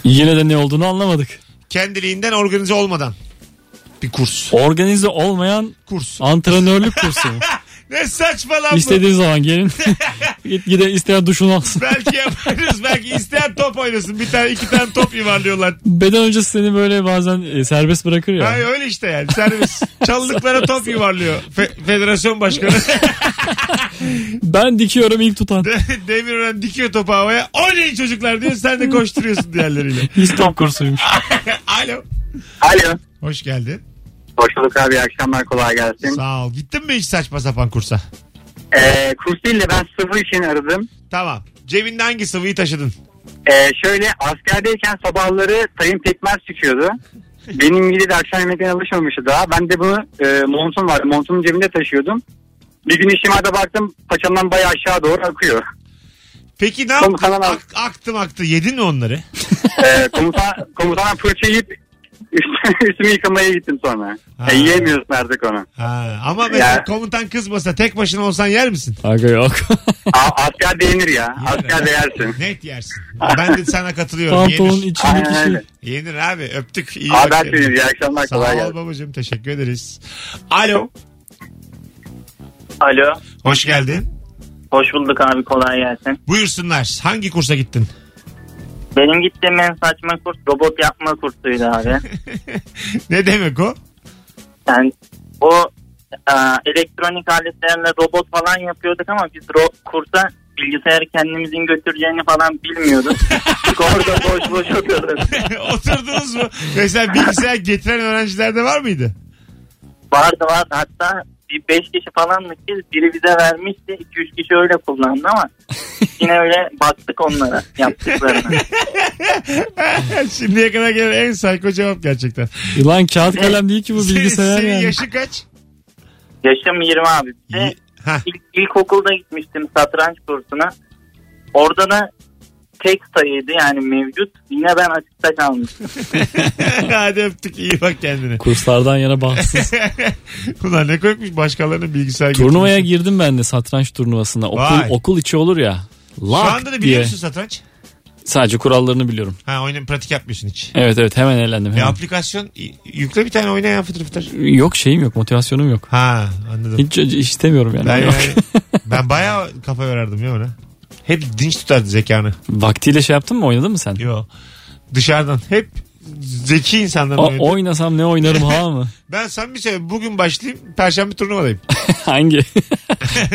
S3: Yine de ne olduğunu anlamadık.
S2: Kendiliğinden organize olmadan bir kurs.
S3: Organize olmayan
S2: Kurs.
S3: antrenörlük kursu.
S2: Ne saçma lan (laughs) bu.
S3: İstediğiniz zaman gelin. (laughs) Git gide isteyen duşunu alsın.
S2: Belki yaparız. Belki isteyen top oynasın. Bir tane iki tane top yuvarlıyorlar.
S3: Beden hocası seni böyle bazen e, serbest bırakır ya.
S2: Ay öyle işte yani servis. Çalılıklara top yuvarlıyor. Fe- federasyon başkanı (laughs)
S3: Ben dikiyorum ilk tutan.
S2: Demirören dikiyor topu havaya. Oynayın çocuklar diyor. Sen de koşturuyorsun diğerleriyle. (laughs)
S3: İstop kursuymuş.
S2: Alo.
S5: Alo.
S2: Hoş geldin.
S5: Hoş bulduk abi. İyi akşamlar kolay gelsin.
S2: Sağ ol. Gittin mi hiç saçma sapan kursa?
S5: Ee, kurs değil de ben sıvı için aradım.
S2: Tamam. Cebinde hangi sıvıyı taşıdın?
S5: Ee, şöyle askerdeyken sabahları tayın pekmez çıkıyordu. Benim gibi de akşam yemeklerine alışmamıştı daha. Ben de bunu e, montum vardı. Montumun cebinde taşıyordum. Bir gün işime de baktım paçamdan bayağı aşağı doğru akıyor.
S2: Peki ne yaptın?
S5: Komutanım abi.
S2: Ak- aktı aktı. Yedin mi onları?
S5: Ee, komutan, komutana fırça yiyip üst- (laughs) üstümü yıkamaya gittim sonra.
S2: Ha.
S5: E, yiyemiyorsun artık onu.
S2: Ha, ama mesela
S5: Ya.
S2: komutan kızmasa tek başına olsan yer misin?
S3: Aga yok.
S5: A, asker değinir ya.
S2: Yenir
S5: Asker
S2: abi.
S5: değersin.
S2: Net yersin. Ben de sana katılıyorum.
S3: Pantolonun
S2: Yenir.
S3: içindeki
S5: Aynen
S3: şey.
S5: öyle.
S2: Yenir abi. Öptük. İyi bak
S5: Haber
S2: kendine.
S5: veriyoruz. İyi akşamlar. Kolay
S2: Sağ ol
S5: gelsin.
S2: babacığım. Teşekkür ederiz. Alo.
S7: Alo.
S2: Hoş geldin.
S7: Hoş bulduk abi kolay gelsin.
S2: Buyursunlar. Hangi kursa gittin? (laughs)
S7: Benim gittiğim en saçma kurs robot yapma kursuydu abi.
S2: ne demek o? (laughs)
S7: Yani o e, elektronik aletlerle robot falan yapıyorduk ama biz ro- kursa bilgisayarı kendimizin götüreceğini falan bilmiyorduk. Çünkü orada boş boş oturuyorduk.
S2: Oturdunuz mu? Mesela bilgisayar getiren öğrencilerde var mıydı?
S7: Vardı vardı hatta bir 5 kişi falandık biz biri bize vermişti 2-3 kişi öyle kullandı ama yine öyle baktık onlara yaptıklarına.
S2: Şimdiye kadar gelen en sayko cevap gerçekten.
S3: Lan kağıt kalem değil ki bu
S2: Senin,
S3: bilgisayar
S2: senin
S3: yani.
S2: yaşı kaç?
S7: Yaşım 20 abi. Bir de
S2: Ye- Hah.
S7: İlk, ilkokulda gitmiştim satranç kursuna. Orada da tek sayıydı yani mevcut. Yine ben açıkta kalmıştım.
S2: Hadi öptük. İyi (laughs) bak kendine.
S3: Kurslardan yana
S2: (laughs)
S3: bahtsız.
S2: Bunlar ne koymuş başkalarının bilgisayar
S3: Turnuvaya
S2: götürmesi.
S3: girdim ben de satranç turnuvasına. Okul,
S2: Vay.
S3: okul içi olur ya.
S2: Şu
S3: Lak
S2: anda da biliyor
S3: diye.
S2: musun satranç?
S3: Sadece kurallarını biliyorum.
S2: Ha oyunun pratik yapmıyorsun hiç.
S3: Evet evet hemen eğlendim.
S2: Bir
S3: hemen.
S2: aplikasyon y- yükle bir tane oyna ya fıtır fıtır.
S3: Yok şeyim yok motivasyonum yok.
S2: Ha anladım.
S3: Hiç, hiç istemiyorum yani.
S2: ben,
S3: Yok.
S2: yani, ben bayağı kafa yorardım ya ona. Hep dinç tutardı zekanı.
S3: Vaktiyle şey yaptın mı oynadın mı sen?
S2: Yo. Dışarıdan hep zeki insanların
S3: O,
S2: oynadı.
S3: oynasam ne oynarım ha
S2: (laughs)
S3: mı?
S2: Ben sen bir şey bugün başlayayım perşembe turnuvadayım. (laughs)
S3: Hangi?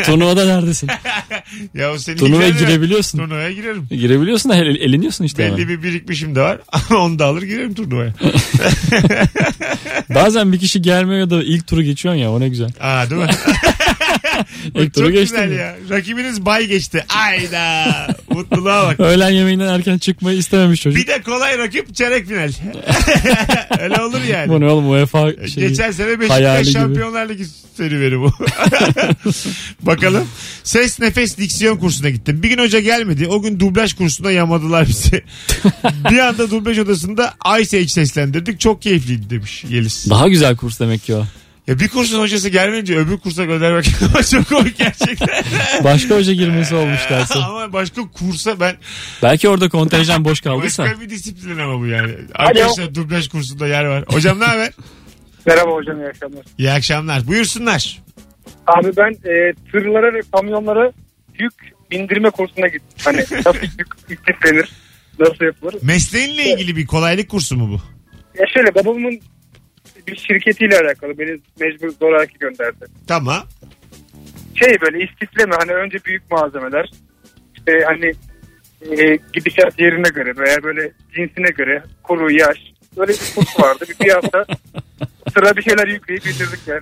S3: Turnuvada neredesin?
S2: Ya o senin
S3: Turnuvaya
S2: hikayene-
S3: girebiliyorsun.
S2: Turnuvaya girerim.
S3: Girebiliyorsun da el- eleniyorsun işte.
S2: Belli
S3: hemen.
S2: bir birikmişim de var. (laughs) Onu da alır girerim turnuvaya.
S3: Bazen bir kişi gelmiyor da ilk turu geçiyorsun ya o ne güzel.
S2: Aa değil mi?
S3: İlk turu
S2: Çok
S3: geçtin
S2: güzel
S3: mi?
S2: ya. Rakibiniz bay geçti.
S3: (laughs)
S2: Ayda. Mutluluğa bak.
S3: Öğlen yemeğinden erken çıkmayı istememiş çocuk.
S2: Bir de kolay rakip çeyrek final.
S3: (laughs)
S2: Öyle olur yani.
S3: Bu ne oğlum UEFA şeyi.
S2: E, Geçen sene
S3: şey hayali
S2: Beşiktaş
S3: gibi.
S2: Şampiyonlar Ligi
S3: (laughs)
S2: serüveni bu. Bakalım. Ses nefes diksiyon kursuna gittim. Bir gün hoca gelmedi. O gün dublaj kursuna yamadılar bizi.
S3: (laughs)
S2: bir anda dublaj odasında Ice Age seslendirdik. Çok keyifliydi demiş Yeliz.
S3: Daha güzel kurs demek ki o.
S2: Ya bir kursun hocası gelmeyince öbür kursa göndermek (laughs) çok komik gerçekten.
S3: (laughs) Başka hoca
S2: (laughs)
S3: girmesi
S2: E,
S3: olmuş dersin.
S2: Ee, ama başka kursa ben
S3: Belki orada kontenjan boş kaldıysa.
S2: başka bir disiplin ama bu yani. Arkadaşlar dublaj kursunda yer var. Hocam ne haber?
S8: Merhaba hocam iyi akşamlar.
S2: İyi akşamlar. Buyursunlar.
S8: Abi ben e, tırlara ve kamyonlara yük bindirme kursuna gittim. Hani nasıl yük istiflenir, nasıl yapılır.
S2: Mesleğinle ilgili bir kolaylık kursu mu bu?
S8: Ya şöyle babamın bir şirketiyle alakalı beni mecbur zoraki gönderdi.
S3: (laughs)
S2: Tamam.
S8: Şey böyle istifleme hani önce büyük malzemeler. İşte hani e, gidişat yerine göre veya böyle cinsine göre kuru, yaş. Böyle bir kurs vardı. Bir, bir hafta sıra bir şeyler yükleyip bitirdik yani.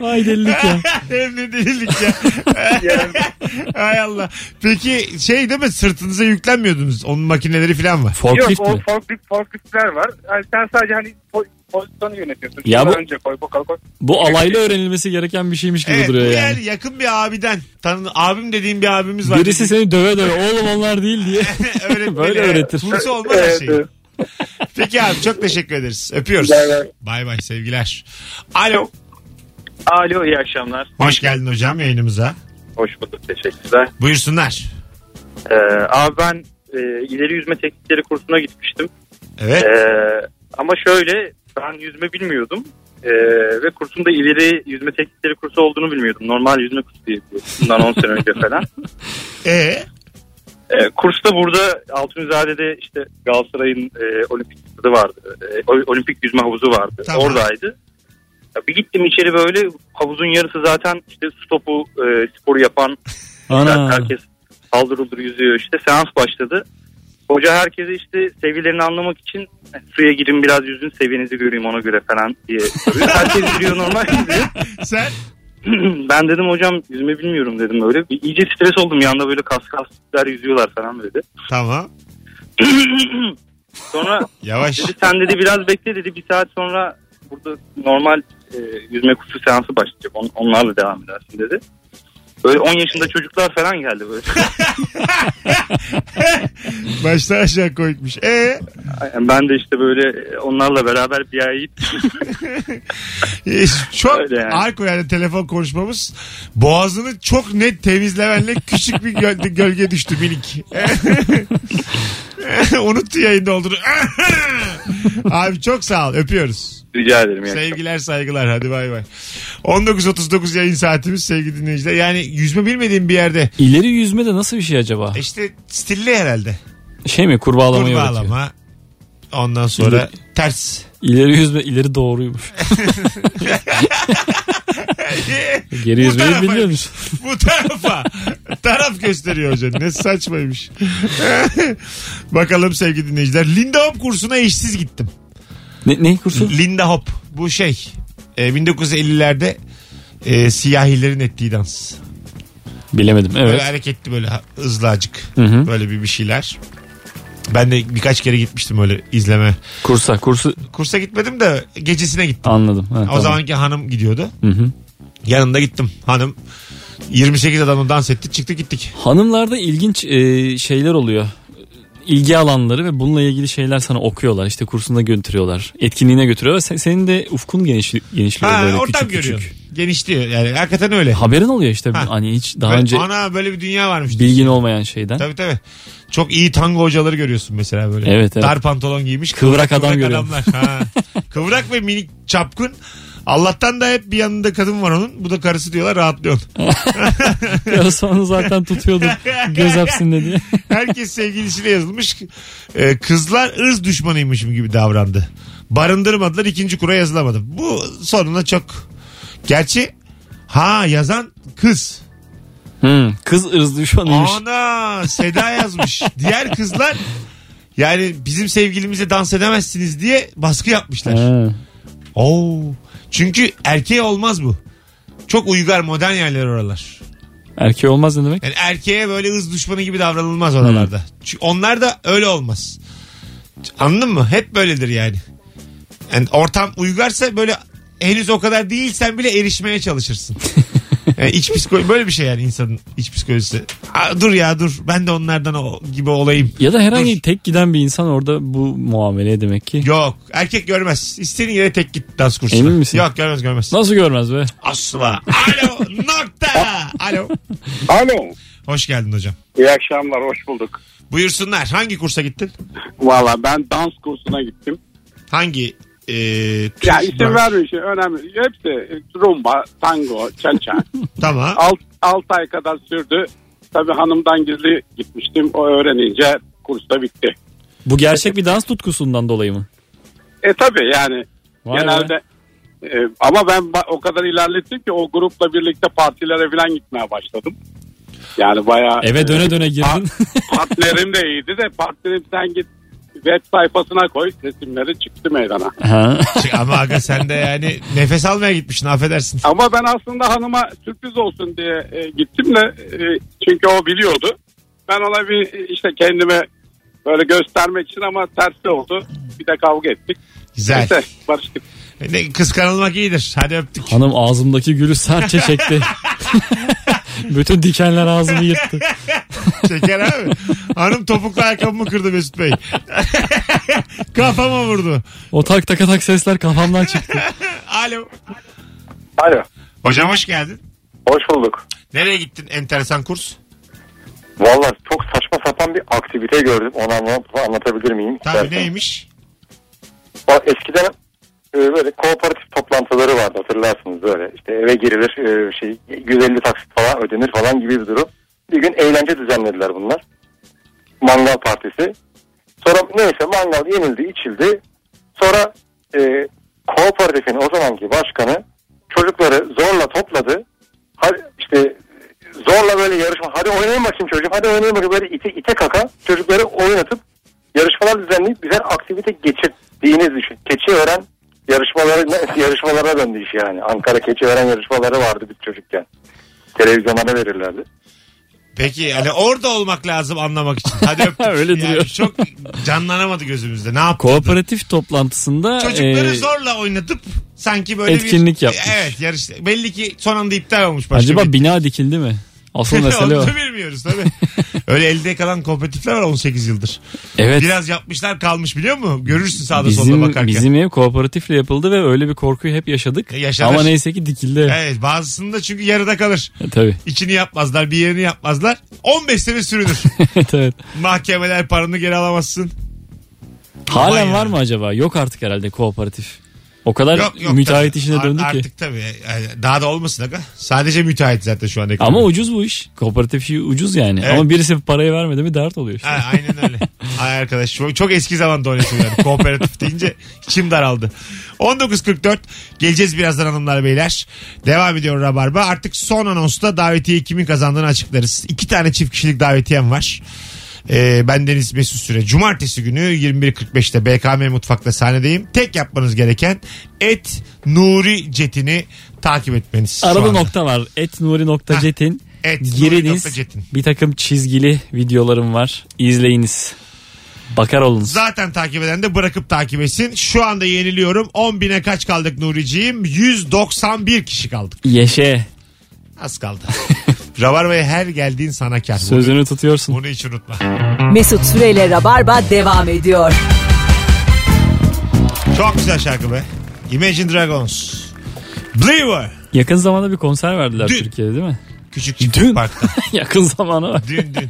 S3: Ay delilik
S2: (laughs)
S3: ya.
S2: Hem de delilik
S3: (laughs)
S2: ya.
S8: Yani-
S2: Hay Allah. Peki şey değil mi sırtınıza yüklenmiyordunuz. Onun makineleri falan var.
S3: Forklift
S8: Yok o
S3: mi?
S8: forklift, forkliftler var. Yani sen sadece hani po- pozisyonu yönetiyorsun.
S3: Ya
S8: Şunu
S3: bu-
S8: Önce koy koy koy, koy.
S3: Bu alayla öğrenilmesi gereken bir şeymiş gibi
S2: Evet, E, bu
S3: duruyor yani.
S2: yani yakın bir abiden. Tanın, abim dediğim bir abimiz var.
S3: Birisi seni döve döve oğlum onlar değil
S2: (laughs)
S3: diye.
S2: Öğretmeni.
S3: Böyle öğretir.
S2: Kursu olmaz her
S8: Evet,
S2: şey.
S8: evet.
S2: Peki abi çok teşekkür ederiz. Öpüyoruz.
S8: Bay bay.
S2: Bay bay sevgiler. Alo.
S6: Alo iyi akşamlar.
S2: Hoş geldin hocam yayınımıza.
S6: Hoş bulduk teşekkürler.
S2: Buyursunlar.
S6: Ee, abi ben e, ileri yüzme teknikleri kursuna gitmiştim.
S2: Evet.
S6: Ee, ama şöyle
S9: Ben yüzme bilmiyordum. Ee, ve kursun da ileri yüzme teknikleri kursu olduğunu bilmiyordum. Normal yüzme kursu diye biliyordum. Bundan 10 sene önce falan.
S2: Ee,
S9: Ee, kursta burada Altunizade'de işte Galatasaray'ın e, olimpik stadı vardı. E, o- olimpik yüzme havuzu vardı.
S2: Tamam.
S9: Oradaydı. Ya bir gittim içeri böyle havuzun yarısı zaten işte su topu e, sporu yapan
S3: Ana.
S9: herkes haldır huldur yüzüyor işte seans başladı. Hoca herkese işte seviyelerini anlamak için "Eh, suya girin biraz yüzün seviyenizi göreyim ona göre falan diye soruyor. Herkes giriyor normal yüzüyor.
S2: E, sen
S9: (clears throat) ben dedim hocam yüzme bilmiyorum dedim öyle. Bir, iyice stres oldum yanda böyle kas kaslar yüzüyorlar falan dedi.
S2: tamam.
S9: (clears throat) Sonra
S2: Yavaş.
S9: dedi sen dedi biraz bekle dedi bir saat sonra burada normal e, yüzme kursu seansı başlayacak On- onlarla devam edersin dedi. Böyle 10 yaşında çocuklar falan geldi böyle. (laughs)
S2: Baştan aşağı koymuş. Ee,
S9: Yani ben de işte böyle e, onlarla beraber bir ay
S2: e, çok
S9: Öyle yani.
S2: arko yani telefon konuşmamız boğazını çok net temizlemenle küçük bir göl- (laughs) gölge düştü minik. (laughs) Unuttu yayında olduğunu. (laughs) Abi çok sağ ol. Öpüyoruz.
S9: rica ederim. Yani.
S2: Sevgiler saygılar hadi bay bay. 19.39 yayın saatimiz sevgili dinleyiciler. Yani yüzme bilmediğim bir yerde
S3: İleri yüzme de nasıl bir şey acaba?
S2: işte stilli herhalde.
S3: Şey mi kurbağalamayı öğretiyor.
S2: Kurbağalama. Ondan sonra ters. (laughs)
S3: İleri yüzme ileri doğruymuş. Geri yüzmeyi
S2: tarafa-
S3: biliyormuş.
S2: Bu tarafa. Taraf gösteriyor hoca. Ne saçmaymış. (laughs) Bakalım sevgili dinleyiciler. Linda Hop kursuna işsiz gittim.
S3: Ne, ne kursu?
S2: Linda Hop. Bu şey. e, 1950'lerde e, siyahilerin ettiği dans.
S3: Bilemedim
S2: Böyle
S3: evet.
S2: hareketli böyle ha- hızlı acık.
S3: Hı hı.
S2: Böyle bir, bir şeyler. Ben de birkaç kere gitmiştim öyle izleme.
S3: Kursa kursu
S2: Kursa gitmedim de gecesine gittim.
S3: anladım. Ha, tamam.
S2: O zamanki hanım gidiyordu.
S3: Hı hı.
S2: Yanında gittim. Hanım 28 adamla dans etti. Çıktı gittik.
S3: Hanımlarda ilginç e, şeyler oluyor. İlgi alanları ve bununla ilgili şeyler sana okuyorlar. İşte kursuna götürüyorlar. Etkinliğine götürüyorlar. Sen- senin de ufkun geniş, genişliyor
S2: Ha,
S3: böyle
S2: ortam
S3: küçük
S2: görüyor.
S3: küçük.
S2: Genişliyor yani hakikaten öyle.
S3: Haberin oluyor işte.
S2: Ha.
S3: Hani hiç daha
S2: Böyle,
S3: önce
S2: Ana böyle bir dünya varmış.
S3: bilgin olmayan şeyden.
S2: Tabii tabii. Çok iyi tango hocaları görüyorsun mesela böyle.
S3: Evet, evet.
S2: Dar pantolon giymiş.
S3: Kıvrak adam görüyorum.
S2: adamlar. Ha. kıvrak ve minik çapkın. Allah'tan da hep bir yanında kadın var onun. Bu da karısı diyorlar rahatlıyorsun.
S3: Ya sonra zaten tutuyordu göz hapsinde diye.
S2: Herkes sevgilisiyle yazılmış. Ee, kızlar ırz düşmanıymışım gibi davrandı. Barındırmadılar ikinci kura yazılamadı. Bu sonuna çok. Gerçi ha yazan kız.
S3: Hı, kız ırz düşmanıymış.
S2: Ana Seda yazmış. Diğer kızlar yani bizim sevgilimize dans edemezsiniz diye baskı yapmışlar.
S3: Ha.
S2: Oo. Çünkü erkeğe olmaz bu. Çok uygar modern yerler oralar.
S3: Erkeği olmaz ne demek?
S2: Yani erkeğe böyle hız düşmanı gibi davranılmaz oralarda. Çünkü onlar da öyle olmaz. Anladın mı? Hep böyledir yani. Yani ortam uygarsa böyle henüz o kadar değilsen bile
S3: (laughs)
S2: erişmeye çalışırsın. Yani iç psikoloji böyle bir şey yani insanın iç psikolojisi. Ha, dur ya dur ben de onlardan o, gibi olayım.
S3: Ya da herhangi
S2: Dur.
S3: tek giden bir insan orada bu muameleye demek ki.
S2: Yok erkek görmez. İstediğin yere tek git dans kursuna.
S3: Emin misin?
S2: Yok görmez görmez.
S3: Nasıl görmez be?
S2: Asla. Alo (laughs) nokta. Alo.
S10: Alo.
S2: Hoş geldin hocam.
S10: İyi akşamlar hoş bulduk.
S2: Buyursunlar. Hangi kursa gittin?
S10: Valla ben dans kursuna gittim.
S2: Hangi e, tür-
S10: Ya isim vermiyor şey önemli. Hepsi rumba, tango, çaça.
S2: Tamam.
S10: Alt, alt ay kadar sürdü. Tabii hanımdan gizli gitmiştim. O öğrenince kursta bitti.
S3: Bu gerçek bir dans tutkusundan dolayı mı?
S10: E tabii yani
S3: Vay be.
S10: genelde e, ama ben ba- o kadar ilerlettim ki o grupla birlikte partilere falan gitmeye başladım. Yani bayağı
S3: Eve döne döne
S10: pa-
S3: girdin.
S10: (laughs) partnerim de iyiydi de partnerim sen git web sayfasına koy resimleri çıktı meydana.
S3: (laughs) Ha.
S2: Şey, Ama aga sen de yani nefes almaya gitmişsin affedersin.
S10: Ama ben aslında hanıma sürpriz olsun diye e, gittim de e, çünkü o biliyordu. Ben ona bir e, işte kendime böyle göstermek için ama tersi oldu. Bir de kavga ettik.
S2: Güzel.
S10: İşte barıştık.
S2: Ne, kıskanılmak iyidir. Hadi öptük.
S3: Hanım ağzımdaki gülü sertçe çekti. (laughs) Bütün dikenler ağzımı yırttı.
S2: Şeker abi. Hanım topuklu ayakkabımı kırdı Mesut Bey. (laughs) Kafama vurdu.
S3: O tak taka tak sesler kafamdan çıktı.
S2: Alo.
S9: Alo.
S2: Hocam hoş geldin.
S9: Hoş bulduk.
S2: Nereye gittin enteresan kurs?
S9: Valla çok saçma sapan bir aktivite gördüm. Onu anla- anlatabilir miyim?
S2: Tabii
S9: İstersen.
S2: neymiş?
S9: Bak, Eskiden
S5: e, böyle kooperatif toplantıları vardı hatırlarsınız böyle. İşte eve girilir e, şey 150 taksit falan ödenir falan gibi bir durum. Bir gün eğlence düzenlediler bunlar. Mangal partisi. Sonra neyse mangal yenildi içildi. Sonra e, kooperatifin o zamanki başkanı çocukları zorla topladı. Hadi işte zorla böyle yarışma hadi oynayın bakayım çocuğum hadi oynayın bakayım böyle ite, ite kaka çocukları oynatıp yarışmalar düzenleyip güzel aktivite geçirdiğiniz düşün. Keçiören yarışmaları (laughs) yarışmalara döndü iş yani. Ankara Keçiören yarışmaları vardı biz çocukken. Televizyonlara verirlerdi.
S2: Peki hani orada olmak lazım anlamak için. Hadi öptük.
S3: Öyle
S2: Yani
S3: duruyor.
S2: çok canlanamadı gözümüzde. Ne yaptı?
S3: Kooperatif toplantısında
S2: Çocukları
S3: e,
S2: zorla oynatıp sanki böyle
S3: Etkinlik
S2: bir...
S3: yapmış.
S2: Evet yarış. Belli ki son anda iptal olmuş başka
S3: acaba
S2: bir... (laughs)
S3: bina dikildi mi? Asıl mesele o.
S2: Onu da
S3: (laughs)
S2: bilmiyoruz tabii. Öyle elde kalan kompetitifler var 18 yıldır.
S3: Evet.
S2: Biraz yapmışlar kalmış biliyor musun? Görürsün sağda solda
S3: Bizim,
S2: bakarken.
S3: bizim ev kooperatifle yapıldı ve öyle bir korkuyu hep yaşadık.
S2: E, yaşanır.
S3: Ama neyse ki dikildi.
S2: Evet bazısında çünkü yarıda kalır.
S3: E, Tabii. (laughs)
S2: İçini yapmazlar bir yerini yapmazlar. 15
S3: (laughs)
S2: sene sürünür.
S3: evet evet.
S2: Mahkemeler paranı geri alamazsın. Aman
S3: Halen
S2: ya.
S3: var mı acaba? Yok artık herhalde kooperatif. O kadar
S2: Yok yok.
S3: müteahhit
S2: tabii.
S3: işine
S2: Ar-
S3: döndü ki.
S2: Artık tabii. Yani daha da olmasın. Aga. Sadece müteahhit zaten şu an. ekonomi.
S3: Ama ucuz bu iş. Kooperatif işi ucuz yani.
S2: Evet.
S3: Ama birisi parayı vermedi mi dert oluyor işte.
S2: Ha, aynen öyle. Ay arkadaş çok, çok eski zamanda oynatıyorlar. Kooperatif deyince içim daraldı. 19.44 geleceğiz birazdan hanımlar beyler. Devam ediyor Rabarba. Artık son anonsta davetiye kimin kazandığını açıklarız. İki tane çift kişilik davetiyem var. Ee, ben Deniz Mesut Süre. Cumartesi günü 21.45'te BKM Mutfak'ta sahnedeyim. Tek yapmanız gereken et Nuri Cetin'i takip etmeniz. şu
S3: Arada
S2: anda.
S3: nokta var. Et Nuri nokta
S2: Ha.
S3: Cetin.
S2: Et Nuri
S3: Giriniz.
S2: Cetin.
S3: Bir takım çizgili videolarım var. İzleyiniz. Bakar olunuz.
S2: Zaten takip eden de bırakıp takip etsin. Şu anda yeniliyorum. 10 bine kaç kaldık Nuriciğim? 191 kişi kaldık.
S3: Yeşe.
S2: Az kaldı. Rabarba'ya her geldiğin sanakar.
S3: Sözünü tutuyorsun.
S2: Bunu, bunu hiç unutma.
S1: Mesut Süreyle Rabarba devam ediyor.
S2: Çok güzel şarkı be. Imagine Dragons. Believer.
S3: Yakın zamanda bir konser verdiler
S2: Dün.
S3: Türkiye'de değil mi? (laughs)
S2: Küçük çiftlik parkta.
S3: Yakın zamana
S2: (laughs)
S3: bak.
S2: Dün dün.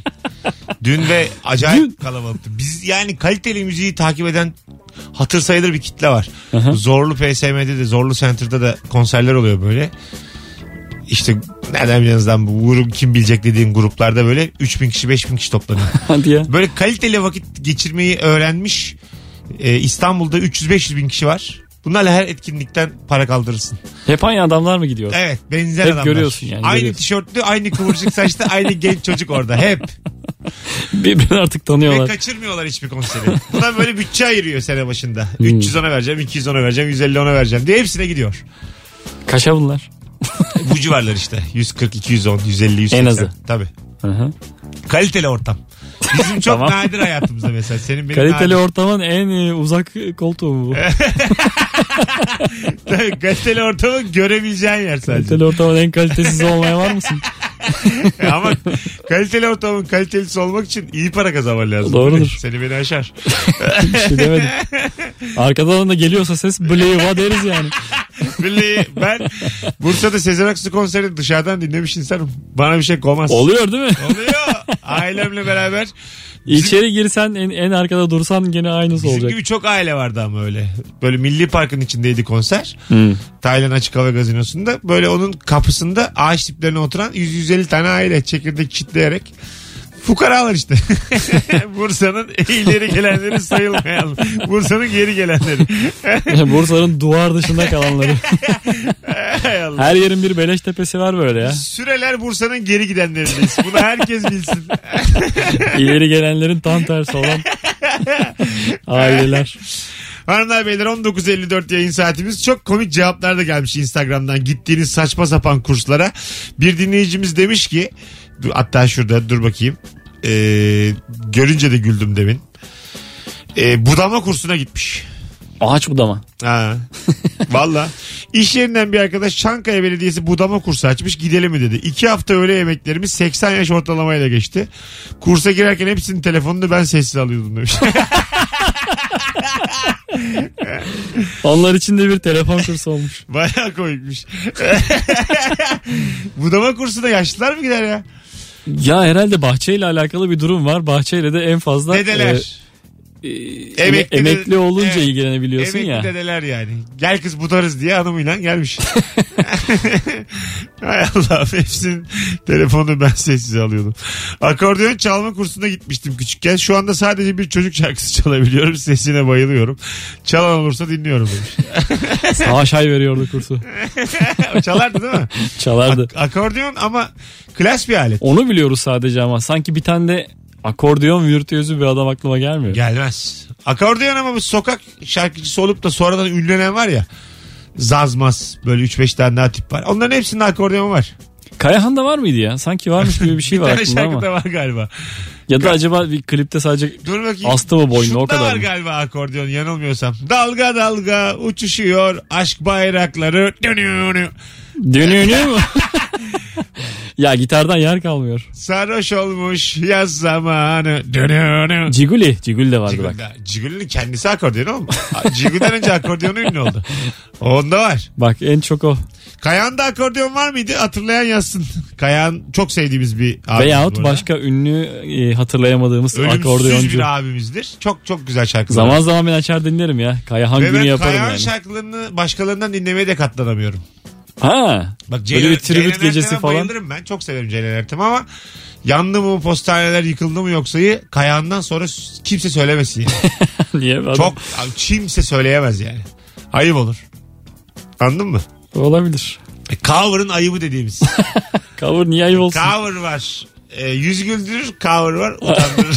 S2: Dün ve acayip kalabalıktı. Biz yani kaliteli müziği takip eden hatır sayılır bir kitle var.
S3: Aha.
S2: Zorlu PSM'de de Zorlu Center'da da konserler oluyor böyle. İşte nereden bileceğiz lan bu grup kim bilecek dediğim gruplarda böyle 3000 kişi 5000
S3: (laughs)
S2: kişi toplanıyor.
S3: Hadi ya.
S2: Böyle kaliteli vakit geçirmeyi öğrenmiş e, İstanbul'da 300-500 bin kişi var. Bunlarla her etkinlikten para kaldırırsın.
S3: Hep aynı adamlar mı gidiyor?
S2: Evet benzer
S3: Hep
S2: adamlar.
S3: görüyorsun yani,
S2: Aynı
S3: görüyorsun.
S2: tişörtlü aynı kıvırcık saçlı aynı genç çocuk orada hep.
S3: Birbirini artık
S2: Ve
S3: tanıyorlar.
S2: kaçırmıyorlar
S3: (laughs)
S2: hiçbir konseri. Buna böyle bütçe ayırıyor sene başında.
S3: Hmm.
S2: 300 ona vereceğim, 200 ona vereceğim, 150 ona vereceğim diye hepsine gidiyor.
S3: Kaşa bunlar.
S2: Bu civarlar işte. 140, 210, 150, 180.
S3: En azı.
S2: Tabii.
S3: Hı hı.
S2: Kaliteli ortam.
S3: (laughs)
S2: Bizim çok
S3: Tamam.
S2: nadir hayatımızda mesela. Senin benim
S3: Kaliteli
S2: nadir.
S3: ortamın en e, uzak koltuğu bu.
S2: Tabii, (laughs) kaliteli ortamı görebileceğin yer sadece.
S3: Kaliteli ortamın en kalitesiz olmaya var mısın?
S2: (laughs) Ama kaliteli ortamın kalitelisi olmak için iyi para kazanman lazım.
S3: Doğrudur.
S2: Seni beni aşar.
S3: Bir şey (laughs) demedim. Arkadan da geliyorsa ses bleyva deriz yani.
S2: Billahi ben Bursa'da Sezen Aksu konserini dışarıdan dinlemiş insanım. Bana bir şey koymaz.
S3: Oluyor değil mi?
S2: Oluyor. Ailemle beraber.
S3: İçeri girsen en, en arkada dursan gene aynısı
S2: Bizim
S3: olacak.
S2: gibi çok aile vardı ama öyle. Böyle Milli Park'ın içindeydi konser. Taylan Açık Hava Gazinosu'nda. Böyle onun kapısında ağaç diplerine oturan 100-150 tane aile çekirdek çitleyerek. Fukaralar işte. (laughs) Bursa'nın ileri gelenleri sayılmayalım. Bursa'nın geri gelenleri.
S3: (laughs) Bursa'nın duvar dışında kalanları.
S2: Hay Allah.
S3: Her yerin bir beleş tepesi var böyle ya.
S2: Süreler Bursa'nın geri gidenlerindeyiz. Bunu herkes bilsin.
S3: İleri gelenlerin tam tersi (laughs) olan aileler.
S2: Hanımlar beyler 19.54 yayın saatimiz. Çok komik cevaplar da gelmiş Instagram'dan gittiğiniz saçma sapan kurslara. Bir dinleyicimiz demiş ki dur- hatta şurada dur bakayım. Ee, görünce de güldüm demin. Ee, budama kursuna gitmiş.
S3: Ağaç budama.
S2: Ha. Valla. İş yerinden bir arkadaş Çankaya Belediyesi budama kursu açmış gidelim mi dedi. İki hafta öğle yemeklerimiz 80 yaş ortalamayla geçti. Kursa girerken hepsinin telefonunu ben sessiz alıyordum demiş.
S3: Onlar için de bir telefon kursu olmuş.
S2: Bayağı komikmiş. (laughs) Budama kursuna yaşlılar mı gider ya?
S3: Ya herhalde bahçeyle alakalı bir durum var. Bahçeyle de en fazla
S2: Dedeler.
S3: e, e,
S2: Emekli de-
S3: emekli olunca
S2: evet.
S3: ilgilenebiliyorsun
S2: Emekli
S3: ya.
S2: dedeler yani. Gel kız budarız diye hanımıyla gelmiş. (laughs) Hay Allah hepsinin telefonu ben sessize alıyordum. Akordeon çalma kursuna gitmiştim küçükken. Şu anda sadece bir çocuk şarkısı çalabiliyorum. Sesine bayılıyorum. Çalan olursa dinliyorum (laughs) demiş.
S3: Savaş ay veriyordu
S2: (laughs)
S3: kursu.
S2: Çalardı değil mi?
S3: Çalardı.
S2: Ak- akordeon ama klas bir alet.
S3: Onu biliyoruz sadece ama sanki bir tane de akordeon virtüözü bir adam aklıma gelmiyor.
S2: Gelmez. Akordeon ama bu sokak şarkıcısı olup da sonradan ünlenen var ya. Zazmaz böyle 3-5 tane daha tip var. Onların hepsinin akordeonu var.
S3: Kayahan'da var mıydı ya? Sanki varmış
S2: (laughs)
S3: gibi bir şey
S2: Bir
S3: var
S2: tane
S3: aklımda ama.
S2: şarkı da var galiba.
S3: Ya da acaba bir klipte sadece
S2: Dur bakayım.
S3: Astı mı boynuna, o
S2: Şunda
S3: kadar
S2: var
S3: mı?
S2: galiba akordeon yanılmıyorsam. Dalga dalga uçuşuyor aşk bayrakları dönüyor.
S3: dönüyor dönüyor
S2: (laughs)
S3: mu? ya gitardan yer kalmıyor.
S2: Sarhoş olmuş yaz zamanı dönüyor.
S3: Ciguli. Ciguli de vardı bak.
S2: Cigül'de- Cigül'ün kendisi akordeon oğlum. Cigül'den önce akordeonu ünlü oldu. Onda var.
S3: Bak en çok o.
S2: Kayahan'da akordeon var mıydı? Hatırlayan yazsın. (laughs) Kayahan çok sevdiğimiz bir abimiz. bu
S3: Veyahut
S2: arada.
S3: başka ünlü e, hatırlayamadığımız
S2: Ölümsüz
S3: akordeoncu.
S2: bir abimizdir. Çok çok güzel şarkılar.
S3: Zaman zaman ben açar dinlerim ya. Kayahan
S2: Ve
S3: günü
S2: ben
S3: yaparım
S2: Kayahan
S3: yani.
S2: şarkılarını başkalarından dinlemeye de katlanamıyorum.
S3: Ha. (laughs)
S2: Bak
S3: Böyle
S2: Ceylan-
S3: bir tribüt
S2: Ceylan
S3: gecesi
S2: Ertem'e
S3: falan.
S2: Bayılırım ben. Çok severim Ceylan Ertem ama yandı mı postaneler yıkıldı mı yoksa Kayahan'dan sonra s- kimse söylemesin.
S3: (laughs)
S2: yani.
S3: Niye? Adam-
S2: Çok abi kimse söyleyemez yani. Ayıp olur. Anladın mı?
S3: Olabilir.
S2: E, cover'ın ayıbı dediğimiz.
S3: Cover niye ayıp (laughs) olsun?
S2: cover var. E, yüz güldürür cover var utandırır.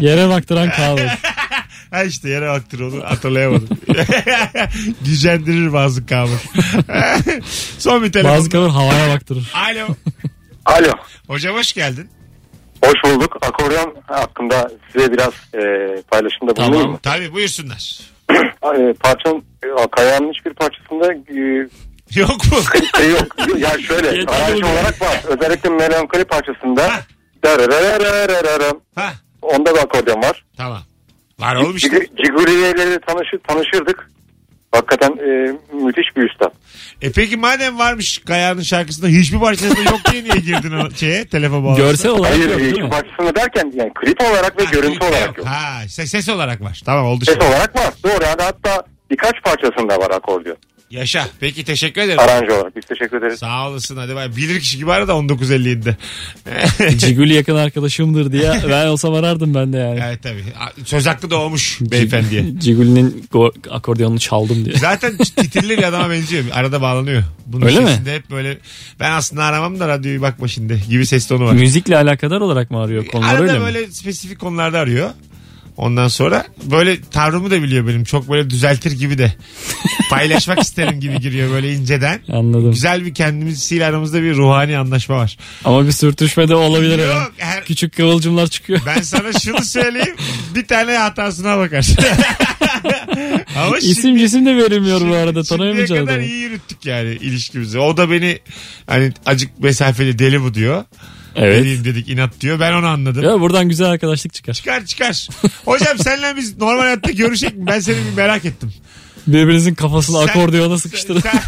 S3: Yere baktıran
S2: (laughs)
S3: cover.
S2: ha işte yere baktır onu hatırlayamadım. (laughs) Gücendirir bazı cover. (laughs) Son bir telefon.
S3: Bazı cover havaya baktırır.
S2: Alo.
S5: Alo.
S2: Hocam hoş geldin.
S5: Hoş bulduk. Akordeon hakkında size biraz e, paylaşımda bulunayım
S3: Tamam.
S5: mı? (clears throat)
S2: Tabii buyursunlar. (laughs)
S5: E, parçanın e, Kaya'nın hiçbir parçasında e,
S2: Yok mu?
S5: şey yok. Ya şöyle
S3: Yeterli
S5: aranj
S3: oluyor.
S5: olarak var. Özellikle melankoli parçasında
S2: Ha.
S5: dararararararam.
S2: ha
S5: onda da akordeon var.
S2: tamam. Var oğlım işte.
S5: Cig- Ciguriye ile tanışı, tanışırdık. Hakikaten e, müthiş bir usta.
S2: E peki madem varmış Kaya'nın şarkısında hiçbir parçasında yok diye niye girdin o şeye telefon bağlantısına?
S3: Görsel olarak
S5: Hayır,
S3: yok değil
S5: (laughs) e,
S3: mi?
S5: parçasını derken yani klip olarak ve
S2: Ha,
S5: görüntü
S2: klipte
S5: olarak yok.
S2: Ha şey. ses, ses olarak var. Tamam oldu
S5: Ses
S2: şimdi.
S5: olarak var. Doğru yani hatta birkaç parçasında var akordeon.
S2: Yaşa. Peki teşekkür ederim.
S5: Aranj olarak. Biz teşekkür ederiz.
S2: Sağ olasın hadi bay. Bilir kişi gibi ara da 19.50'inde.
S3: Ciguli yakın arkadaşımdır diye ben olsam arardım ben de yani.
S2: (laughs) (laughs) evet tabii. Söz hakkı doğmuş beyefendiye.
S3: Ciguli'nin go- akordeonunu çaldım diye.
S2: Zaten titilli bir adama benziyor. Arada bağlanıyor. Bunun
S3: Öyle mi?
S2: sesinde hep böyle ben aslında aramam da radyoyu bakma şimdi gibi ses tonu
S3: (laughs)
S2: var.
S3: Müzikle alakadar olarak mı arıyor konular
S2: Arada
S3: öyle mi?
S2: böyle spesifik konularda arıyor. Ondan sonra böyle tavrımı da biliyor benim. Çok böyle düzeltir
S3: (laughs)
S2: gibi de. Paylaşmak isterim gibi giriyor böyle inceden.
S3: Anladım.
S2: Güzel bir kendimizsiyle aramızda bir ruhani anlaşma var.
S3: Ama bir sürtüşme de olabilir.
S2: Yok,
S3: ya.
S2: her-
S3: Küçük kıvılcımlar çıkıyor.
S2: Ben sana şunu söyleyeyim. Bir tane hatasına bakarsın. (laughs)
S3: (laughs)
S2: Ama
S3: İsim cisim de verilmiyor bu arada
S2: Şimdiye
S3: tanıyamayacağım
S2: kadar
S3: adamı.
S2: iyi yürüttük yani ilişkimizi. O da beni hani acık mesafeli deli bu diyor.
S3: Evet.
S2: Deliyim dedik inat diyor. Ben onu anladım.
S3: Ya buradan güzel arkadaşlık çıkar.
S2: Çıkar çıkar. Hocam senle biz normal hayatta görüşecek mi? Ben seni bir merak ettim.
S3: Birbirinizin kafasını
S2: Sen-
S3: akordeona sıkıştırın.
S2: Sen,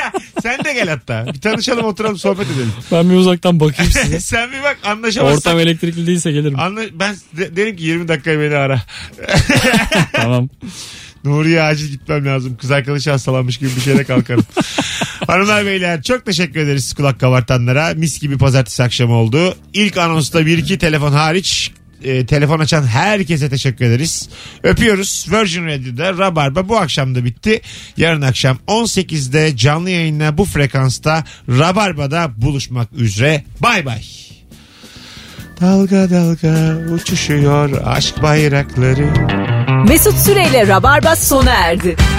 S2: (laughs) sen de gel hatta. Bir tanışalım oturalım sohbet edelim.
S3: ben bir uzaktan
S2: (laughs)
S3: bakayım size.
S2: sen bir bak anlaşamazsak.
S3: Ortam elektrikli değilse gelirim.
S2: Anla, ben de- derim ki 20 dakika beni ara.
S3: tamam.
S2: Nuriye acil gitmem lazım. Kız arkadaşı hastalanmış gibi bir şeyle kalkarım. Hanımlar beyler çok teşekkür ederiz kulak kabartanlara. Mis gibi pazartesi akşamı oldu. İlk anonsta bir iki telefon hariç e, telefon açan herkese teşekkür ederiz. Öpüyoruz. Virgin Radio'da Rabarba bu akşam da bitti. Yarın akşam 18'de canlı yayınla bu frekansta Rabarba'da buluşmak üzere. Bay bay. Dalga dalga uçuşuyor aşk bayrakları.
S1: Mesut Süreyle Rabarba sona erdi.